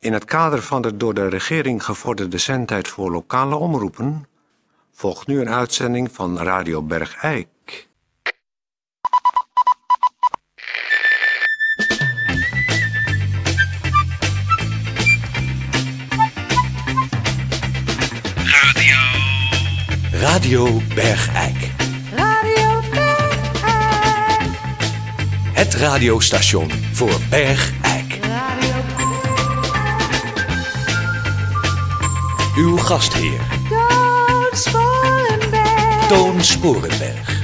In het kader van de door de regering gevorderde zendtijd voor lokale omroepen volgt nu een uitzending van Radio Bergijk. Radio Bergijk. Radio Bergijk. Het radiostation voor Bergijk. Radio Uw gastheer Toon Sporenberg. Toon Sporenberg.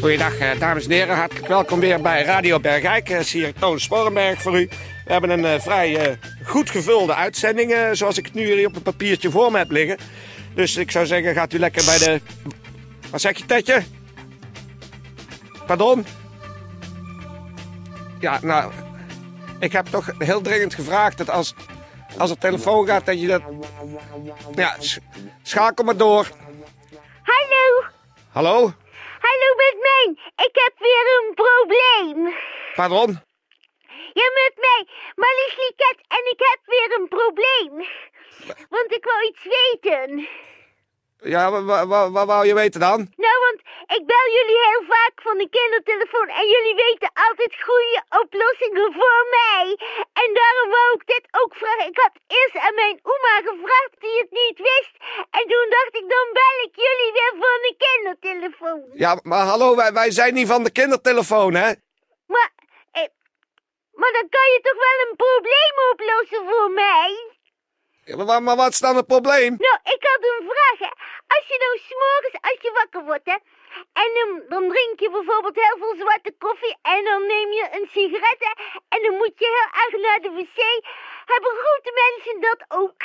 Goeiedag, eh, dames en heren. Hartelijk welkom weer bij Radio Bergijk. Eh, is hier Toon Sporenberg voor u. We hebben een eh, vrij eh, goed gevulde uitzending, eh, zoals ik het nu hier op een papiertje voor me heb liggen. Dus ik zou zeggen, gaat u lekker bij de... Wat zeg je, Tetje? Pardon? Ja, nou... Ik heb toch heel dringend gevraagd dat als, als er telefoon gaat, dat je dat... Ja, sch- schakel maar door. Hallo, Hallo? hallo met mij. Ik heb weer een probleem. Pardon? Ja, met mij, Marlies Liket en ik heb weer een probleem. Want ik wil iets weten. Ja, wa- wa- wa- wat wou je weten dan? Nou, want ik bel jullie heel vaak van de kindertelefoon en jullie weten altijd goede oplossingen voor mij. En daarom wou ik dit ook vragen. Ik had eerst aan mijn oma gevraagd die het niet wist. En toen dacht ik, dan bel ik jullie weer van de kindertelefoon. Ja, maar hallo, wij, wij zijn niet van de kindertelefoon, hè? Maar, eh, maar dan kan je toch wel een probleem oplossen voor mij? Ja, Maar, maar wat is dan het probleem? Nou, ik had een vraag. Hè. Als je nou s'morgens, als je wakker wordt, hè, en ehm, dan drink je bijvoorbeeld heel veel zwarte koffie en dan neem je een sigaret hè, en dan moet je heel erg naar de wc. Hebben grote mensen dat ook?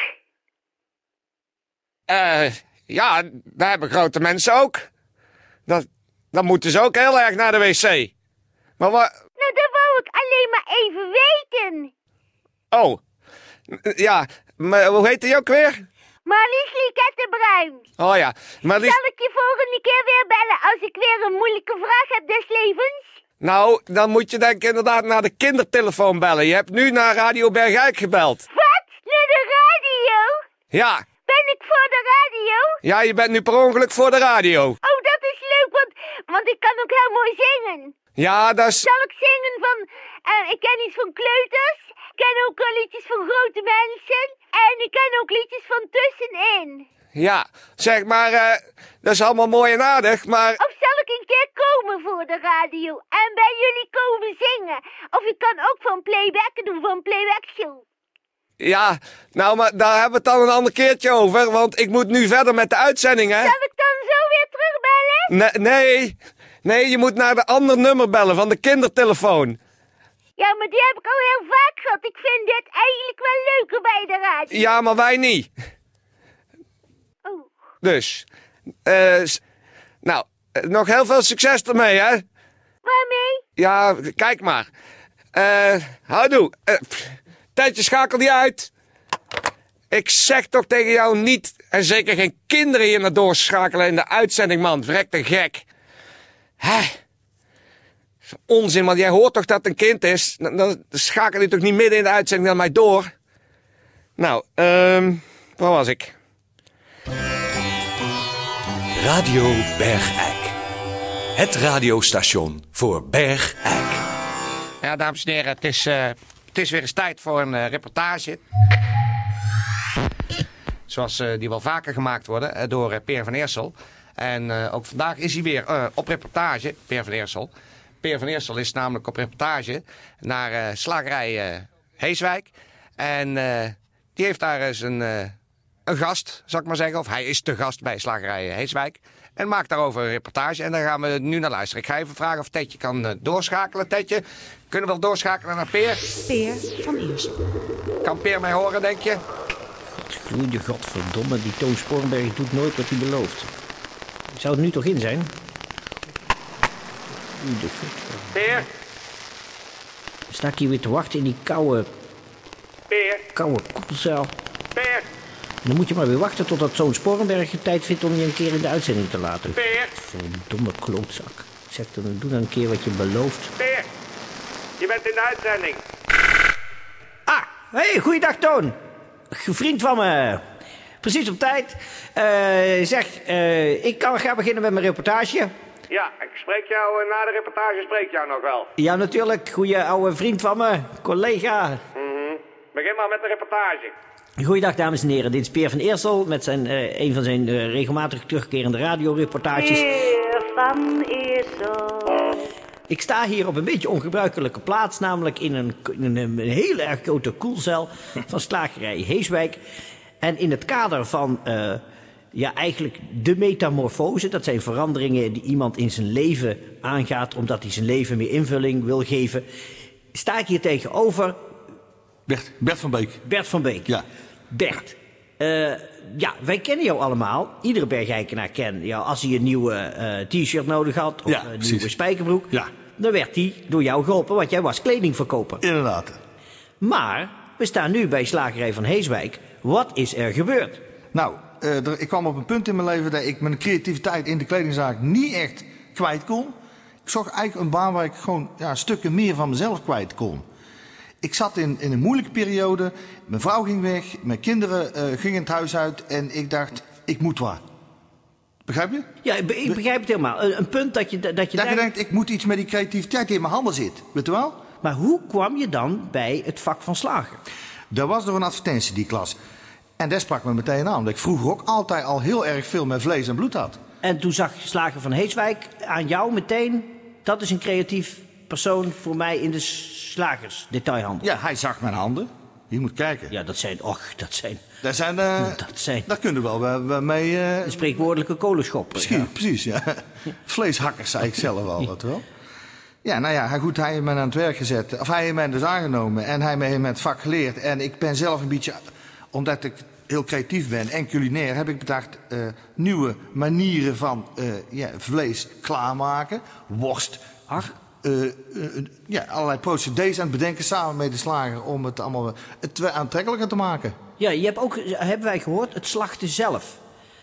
Eh, ja, daar hebben grote mensen ook. Dat, dan moeten ze ook heel erg naar de wc. Maar wat... Nou, dat wou ik alleen maar even weten. Oh. Ja, maar hoe heet die ook weer? Marlies Likette Bruin, Oh ja, maar die... zal ik je volgende keer weer bellen als ik weer een moeilijke vraag heb des levens? Nou, dan moet je denk ik inderdaad naar de kindertelefoon bellen. Je hebt nu naar Radio Bergijk gebeld. Wat? Naar de radio? Ja, Ben ik voor de radio? ja, je bent nu per ongeluk voor de radio. Oh, dat is leuk, want, want ik kan ook heel mooi zingen. Ja, dat is... Zal ik zingen van... eh, ik ken iets van kleuters. Ik ken ook wel liedjes van grote mensen. En ik ken ook liedjes van tussenin. Ja, zeg maar, eh, dat is allemaal mooi en aardig, maar... Of zal ik een keer komen voor de radio en bij jullie komen zingen? Of ik kan ook van playback doen, van playback show. Ja, nou, maar daar hebben we het dan een ander keertje over, want ik moet nu verder met de uitzending, hè? Zal ik dan zo weer terugbellen? Nee, nee, nee, je moet naar de ander nummer bellen van de kindertelefoon. Ja, maar die heb ik al heel vaak gehad. Ik vind dit eigenlijk wel leuker bij de radio. Ja, maar wij niet. Oh. Dus, eh, s- nou, eh, nog heel veel succes ermee, hè? Waarmee? Ja, kijk maar. Eh, houdoe. Eh, pff, tijdje, schakel die uit. Ik zeg toch tegen jou niet, en zeker geen kinderen hier naar doorschakelen in de uitzending, man. Vrek de gek. Hè? Onzin, want jij hoort toch dat het een kind is? Dan, dan schakel je toch niet midden in de uitzending naar mij door? Nou, ehm, waar was ik? Radio Bergijk. Het radiostation voor Bergijk. Ja, dames en heren, het is, eh, het is weer eens tijd voor een eh, reportage. Zoals eh, die wel vaker gemaakt worden eh, door eh, Peer van Eersel. En eh, ook vandaag is hij weer eh, op reportage, Peer van Eersel. Peer van Eersel is namelijk op reportage naar eh, slagerij eh, Heeswijk. En eh, die heeft daar eens een, eh, een gast, zal ik maar zeggen. Of hij is de gast bij slagerij eh, Heeswijk. En maakt daarover een reportage. En daar gaan we nu naar luisteren. Ik ga even vragen of Tetje kan eh, doorschakelen. Tetje, kunnen we wel doorschakelen naar Peer? Peer van Iersel. Kan Peer mij horen, denk je? Gloeide godverdomme, die Toon Sporenberg doet nooit wat hij belooft. Zou het nu toch in zijn? Gloeide god. Peer, Sta ik hier weer te wachten in die koude, Peer, koude koelzaal? Peer, Dan moet je maar weer wachten totdat Toon Sporenberg het tijd vindt om je een keer in de uitzending te laten. Peer. Verdomme klootzak. Zeg dan, doe dan een keer wat je belooft. Peer, je bent in de uitzending. Ah, Hé, hey, goeiedag Toon. Vriend van me. Precies op tijd. Eh, zeg, eh, ik kan gaan beginnen met mijn reportage. Ja, ik spreek jou, eh, na de reportage spreek ik jou nog wel. Ja, natuurlijk. Goeie oude vriend van me. Collega. Begin maar met de reportage. Goeiedag dames en heren. Dit is Peer van Eersel met zijn, eh, een van zijn eh, regelmatig terugkerende radioreportages. Weer van Eersel. Ik sta hier op een beetje ongebruikelijke plaats, namelijk in een, in een hele erg grote koelcel van slagerij Heeswijk. En in het kader van, eh, ja, eigenlijk de metamorfose, dat zijn veranderingen die iemand in zijn leven aangaat, omdat hij zijn leven meer invulling wil geven, sta ik hier tegenover Bert, Bert van Beek. Bert van Beek. Ja. Bert, eh, ja, wij kennen jou allemaal. Iedere bergijkenaar kent jou. Als hij een nieuwe eh, t-shirt nodig had of Ja, een precies. nieuwe spijkerbroek... Ja. dan werd die door jou geholpen, want jij was kledingverkoper. Inderdaad. Maar we staan nu bij Slagerij van Heeswijk. Wat is er gebeurd? Nou, eh, er- ik kwam op een punt in mijn leven dat ik mijn creativiteit in de kledingzaak niet echt kwijt kon. Ik zocht eigenlijk een baan waar ik gewoon ja, stukken meer van mezelf kwijt kon. Ik zat in, in een moeilijke periode. Mijn vrouw ging weg, mijn kinderen eh, gingen het huis uit en ik dacht, ik moet wat. Begrijp je? Ja, ik be- ik begrijp het helemaal. Een, een punt dat je, dat je, Dat je denkt- denkt, ik moet iets met die creativiteit die in mijn handen zit. Weet je wel? Maar hoe kwam je dan bij het vak van slager? Dat was door een advertentie, die klas. En dat sprak me meteen aan, omdat ik vroeger ook altijd al heel erg veel met vlees en bloed had. En toen zag Slager van Heeswijk aan jou meteen... dat is een creatief persoon voor mij in de slagersdetailhandel. Ja, hij zag mijn handen. Je moet kijken. Ja, dat zijn, och, dat zijn Daar zijn... eh, Dat zijn- Daar kunnen we wel we- we mee... eh, spreekwoordelijke kolenschop. precies, precies, ja. Vleeshakkers, zei ik zelf al, dat wel. Ja, nou ja, hij- goed, hij heeft mij aan het werk gezet. Of hij heeft mij dus aangenomen en hij heeft mij het vak geleerd. En ik ben zelf een beetje... Omdat ik heel creatief ben en culinair, heb ik bedacht... eh, nieuwe manieren van eh, ja, vlees klaarmaken. Worst. Ach. ja, allerlei procedés aan het bedenken samen met de slager... om het allemaal het aantrekkelijker te maken. Ja, je hebt ook, hebben wij gehoord, het slachten zelf.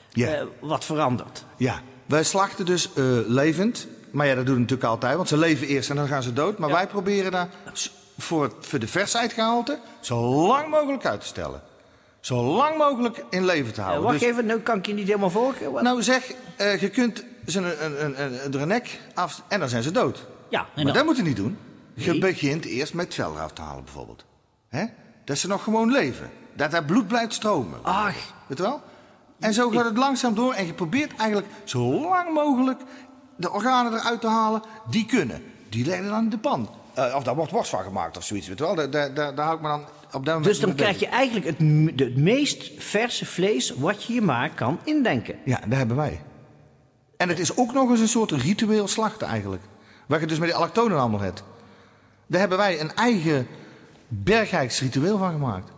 Ja. eh, wat verandert. Eh, Ja, wij slachten dus eh, levend. Maar ja, dat doen we natuurlijk altijd, want ze leven eerst en dan gaan ze dood. Maar wij proberen daar s- voor, het- voor de versheidgehalte zo lang mogelijk uit te stellen. Zo lang mogelijk in leven te Eh, houden. wacht Dus- even, nu kan ik je niet helemaal volgen. Wat- nou zeg, eh, je kunt ze een, een, een, een, een- er een nek af en dan zijn ze dood. ja, en Maar dan? dat moet je niet doen. Je Nee. begint eerst met vel eraf te halen bijvoorbeeld. Hè? Dat ze nog gewoon leven. Dat daar bloed blijft stromen. Ach, Weet je wel? En zo gaat het langzaam door en je probeert eigenlijk zo lang mogelijk de organen eruit te halen die kunnen. Die leggen dan in de pan. Eh, of daar wordt worst van gemaakt of zoiets, weet je wel? Daar, daar, daar, daar hou ik me dan op dat moment dus dan mee krijg je bezig. eigenlijk het, m- de- het meest verse vlees wat je je maar kan indenken. Ja, dat hebben wij. En het is ook nog eens een soort ritueel slachten eigenlijk. Wat je dus met die allochtonen allemaal hebt. Daar hebben wij een eigen bergijks ritueel van gemaakt.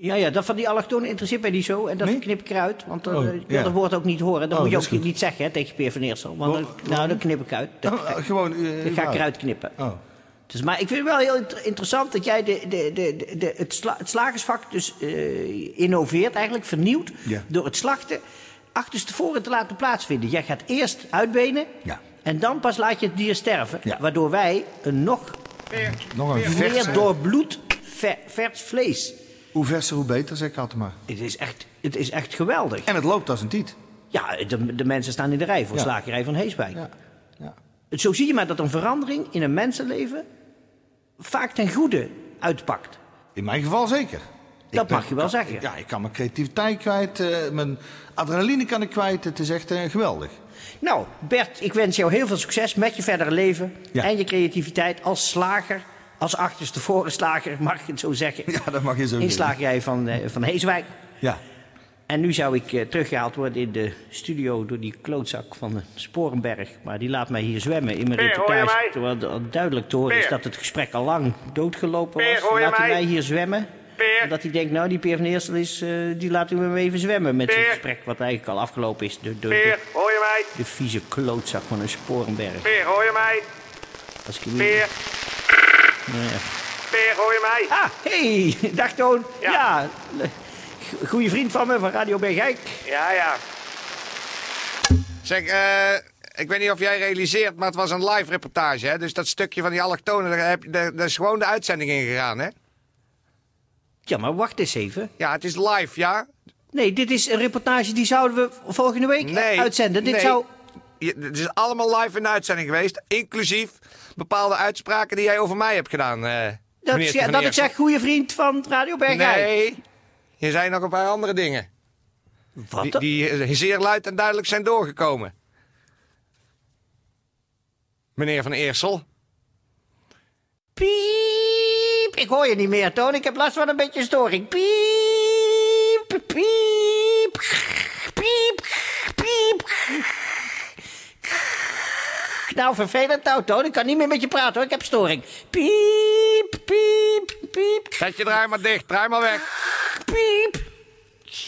Ja, ja, dat van die allochtonen interesseert mij niet zo. En dat Nee? knip ik eruit, want eh, Oh, ik wil ja. dat woord ook niet horen. Dat Oh, moet je dat is ook goed. niet zeggen hè, tegen Peer van Eersel. Want dan, Waarom- nou, dat knip ik uit. Dat, Oh, eh, gewoon, eh, dat ga ik überhaupt. eruit knippen. Oh. Dus, maar ik vind het wel heel inter- interessant dat jij de, de, de, de- de, het, sla- het slagersvak dus eh, innoveert, eigenlijk vernieuwt, Ja. door het slachten achterstevoren te laten plaatsvinden. Jij gaat eerst uitbenen Ja. en dan pas laat je het dier sterven, Ja. waardoor wij een nog Nog een meer verse, door bloed ver- vers vlees. Hoe verser, hoe beter, zeg ik altijd maar. Het is echt, het is echt geweldig. En het loopt als een tiet. Ja, de, de mensen staan in de rij voor Ja. slagerij van Heeswijk. Ja. ja. Zo zie je maar dat een verandering in een mensenleven vaak ten goede uitpakt. In mijn geval zeker. Dat Ik ben- mag je wel zeggen. Ja, ik kan mijn creativiteit kwijt, eh, mijn adrenaline kan ik kwijt. Het is echt eh, geweldig. Nou, Bert, ik wens jou heel veel succes met je verdere leven Ja. en je creativiteit als slager. Als achterstevoren slager, mag ik het zo zeggen. Ja, dat mag je zo In zeggen. slagerij van, eh, van Heeswijk. Ja. En nu zou ik eh, teruggehaald worden in de studio door die klootzak van eh, Sporenberg. Maar die laat mij hier zwemmen in mijn Peer, hoor je reportage. mij? Terwijl de- al duidelijk te horen is Peer. dat het gesprek al lang doodgelopen Peer, was. hoor je laat hij mij? mij hier zwemmen. Peer. Omdat hij denkt, nou die Peer van Eersel is, eh, die laat ik hem even zwemmen met zijn Peer. gesprek. Wat eigenlijk al afgelopen is door, door Peer, de, hoor je mij? de vieze klootzak van een Sporenberg. Peer, hoor je mij? Als ik hem- Peer. Peer, hoor je mij? Ah, hey, dag Toon. Ja. Ja. le- goeie vriend van me van Radio Bergijk. Ja, ja. Zeg, eh, ik weet niet of jij realiseert, maar het was een live reportage, hè? Dus dat stukje van die allochtonen, daar, heb, daar, daar is gewoon de uitzending in gegaan, hè? Ja, maar wacht eens even. Ja, het is live, ja? Nee, dit is een reportage die zouden we volgende week eh, Nee. uitzenden. Dit nee. zou... Je- het is allemaal live in de uitzending geweest. Inclusief bepaalde uitspraken die jij over mij hebt gedaan. eh, Dat, meneer ik Van zeg- dat ik Eersel. zeg, goede vriend van Radio Bergijk. Nee, je zei nog een paar andere dingen. Wat? Die, die zeer luid en duidelijk zijn doorgekomen. Meneer Van Eersel. Piep. Ik hoor je niet meer, Toon. Ik heb last van een beetje storing. Piep. Piep. Piep. Piep. Nou, vervelend nou, Toon. Ik kan niet meer met je praten, hoor. Ik heb storing. Piep. Piep. Piep. Zet je draai maar dicht, draai maar weg. Piep.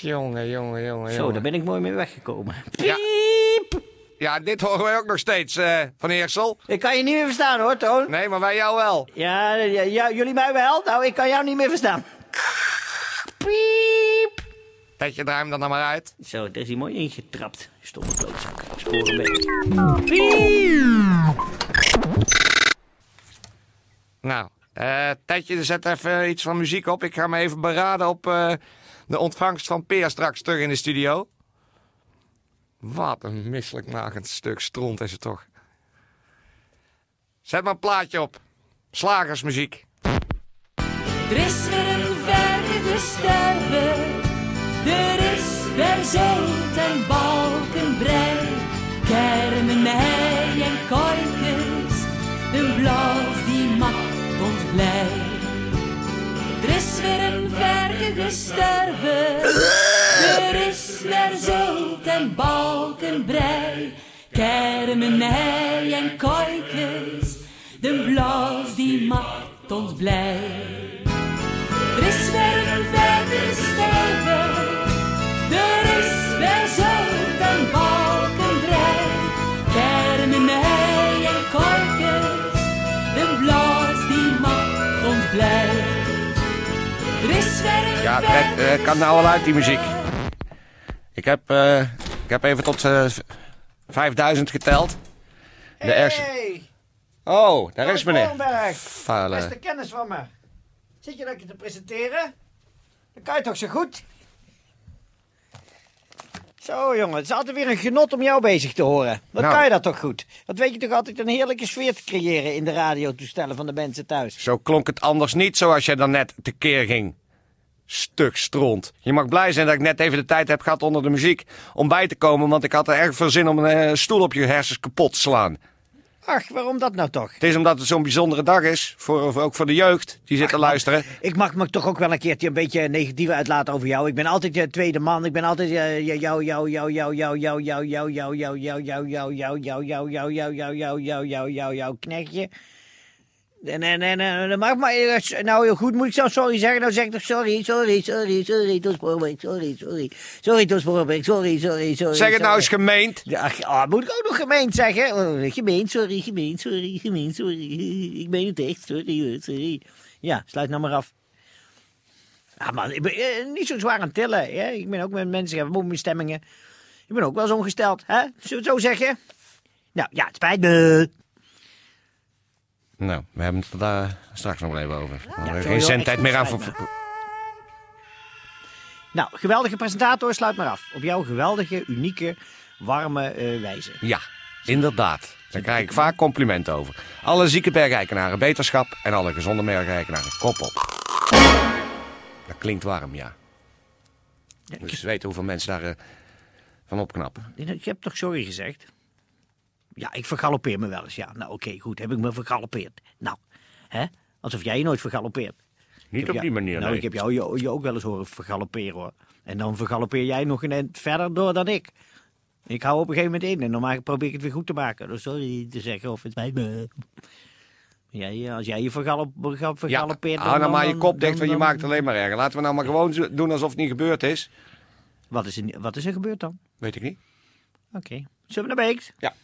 Jongen, jongen, jongen. Zo, daar ben ik mooi mee weggekomen. Ja. Piep. Ja, dit horen wij ook nog steeds, eh, Van Eersel. Ik kan je niet meer verstaan, hoor, Toon. Nee, maar wij jou wel. Ja, ja, ja, jullie mij wel. Nou, ik kan jou niet meer verstaan. Piep. Zet je draai hem dan nou maar uit. Zo, daar is hij mooi ingetrapt. Stomme klootzak. Sporen mee. Nou, eh Tetje, zet even iets van muziek op. Ik ga me even beraden op eh, de ontvangst van Peer straks terug in de studio. Wat een misselijkmakend stuk stront is het toch. Zet maar een plaatje op. Slagersmuziek. Er is weer een verre te stuiven. Er is weer zeet en balkenbrei. Kermenij en korkens. Een blauw die maakt ons blij. Er is weer een verre te stuiven. Er is weer zeet en balkenbrei. Kermenij en korkens. De blauw die maakt ons blij. Er is weer een verder steven. Er is weer zout en balkenbrei. Kermenij en korkers. De blaas die maakt ons blij. Er is weer een Ja, Fred, verder eh, kan nou al uit die muziek. steven. Ik heb, eh, ik heb even tot eh, v- 5000 geteld. De ergste- Hey, Oh, daar is meneer. Kornberg, Vuile. beste kennis van me. Zit je lekker te presenteren? Dat kan je toch zo goed? Zo jongen, het is altijd weer een genot om jou bezig te horen. Wat Nou. kan je dat toch goed? Wat weet je toch altijd een heerlijke sfeer te creëren in de radiotoestellen van de mensen thuis. Zo klonk het anders niet zoals jij daarnet tekeer ging. Stuk stront. Je mag blij zijn dat ik net even de tijd heb gehad onder de muziek om bij te komen, want ik had er erg veel zin om een eh, stoel op je hersens kapot te slaan. Ach, waarom dat nou toch? Het is omdat het zo'n bijzondere dag is, voor, voor- ook voor de jeugd die zit te luisteren. Ik mag me toch ook wel een keertje een beetje negatief uitlaten over jou. Ik ben altijd je tweede man. Ik ben altijd eh, jou, jou, jou, jou, jou, jou, jou, jou, jou, jou, jou, jou, jou, jou, jou, jou, jou, jou, jou, jou, jou, jou, jou, jou, jou, knechtje. En, en, en, eh, dat mag maar. eh, s- Nou, heel goed, moet ik zo sorry zeggen? Nou zeg ik toch sorry, sorry, sorry, sorry, Toon Spoorbeek, sorry, sorry. Sorry, Toon Spoorbeek, sorry, sorry, sorry. Zeg het nou sorry. eens gemeend. Ja, Ach, ah, moet ik ook nog gemeen zeggen? Oh, gemeen, sorry, gemeen, sorry, gemeen, sorry. Ik meen het echt, sorry, hoor, sorry. Ja, sluit nou maar af. Ah man, ik ben eh, niet zo zwaar aan het tillen. Hè? Ik ben ook met mensen, ik heb ook mijn stemmingen. Ik ben ook wel eens ongesteld, hè? Zullen we het zo zeggen? Nou, ja, het spijt me. Nou, we hebben het daar straks nog wel even over. We hebben Ja, geen zo, joh, zendtijd echt meer aan voor... spijt Nou, geweldige presentator, sluit maar af. Op jouw geweldige, unieke, warme eh, wijze. Ja, inderdaad. Daar krijg ik vaak complimenten over. Alle zieke bergrijkenaren beterschap en alle gezonde bergrijkenaren kop op. Dat klinkt warm, ja. Dus weten hoeveel mensen daar eh, van opknappen. Ik heb toch sorry gezegd? Ja, ik vergalopeer me wel eens. Ja, nou oké, goed. Heb ik me vergalopeerd? Nou, hè? Alsof jij je nooit vergalopeert. Niet op die manier, Nou, nee. ik heb jou je, je ook wel eens horen vergalopperen hoor. En dan vergalopeer jij nog een eind verder door dan ik. Ik hou op een gegeven moment in en normaal probeer ik het weer goed te maken. Dus sorry te zeggen of het spijt me. Jij, eh, als jij je vergalop, vergal- Ja, vergalopeert... hou nou dan- maar je dan- kop dicht, dan- want je dan- maakt het alleen maar erger. Laten we nou maar gewoon zo- doen alsof het niet gebeurd is. Wat is er, wat is er gebeurd dan? Weet ik niet. Oké. Zullen we naar Beeks? Ja.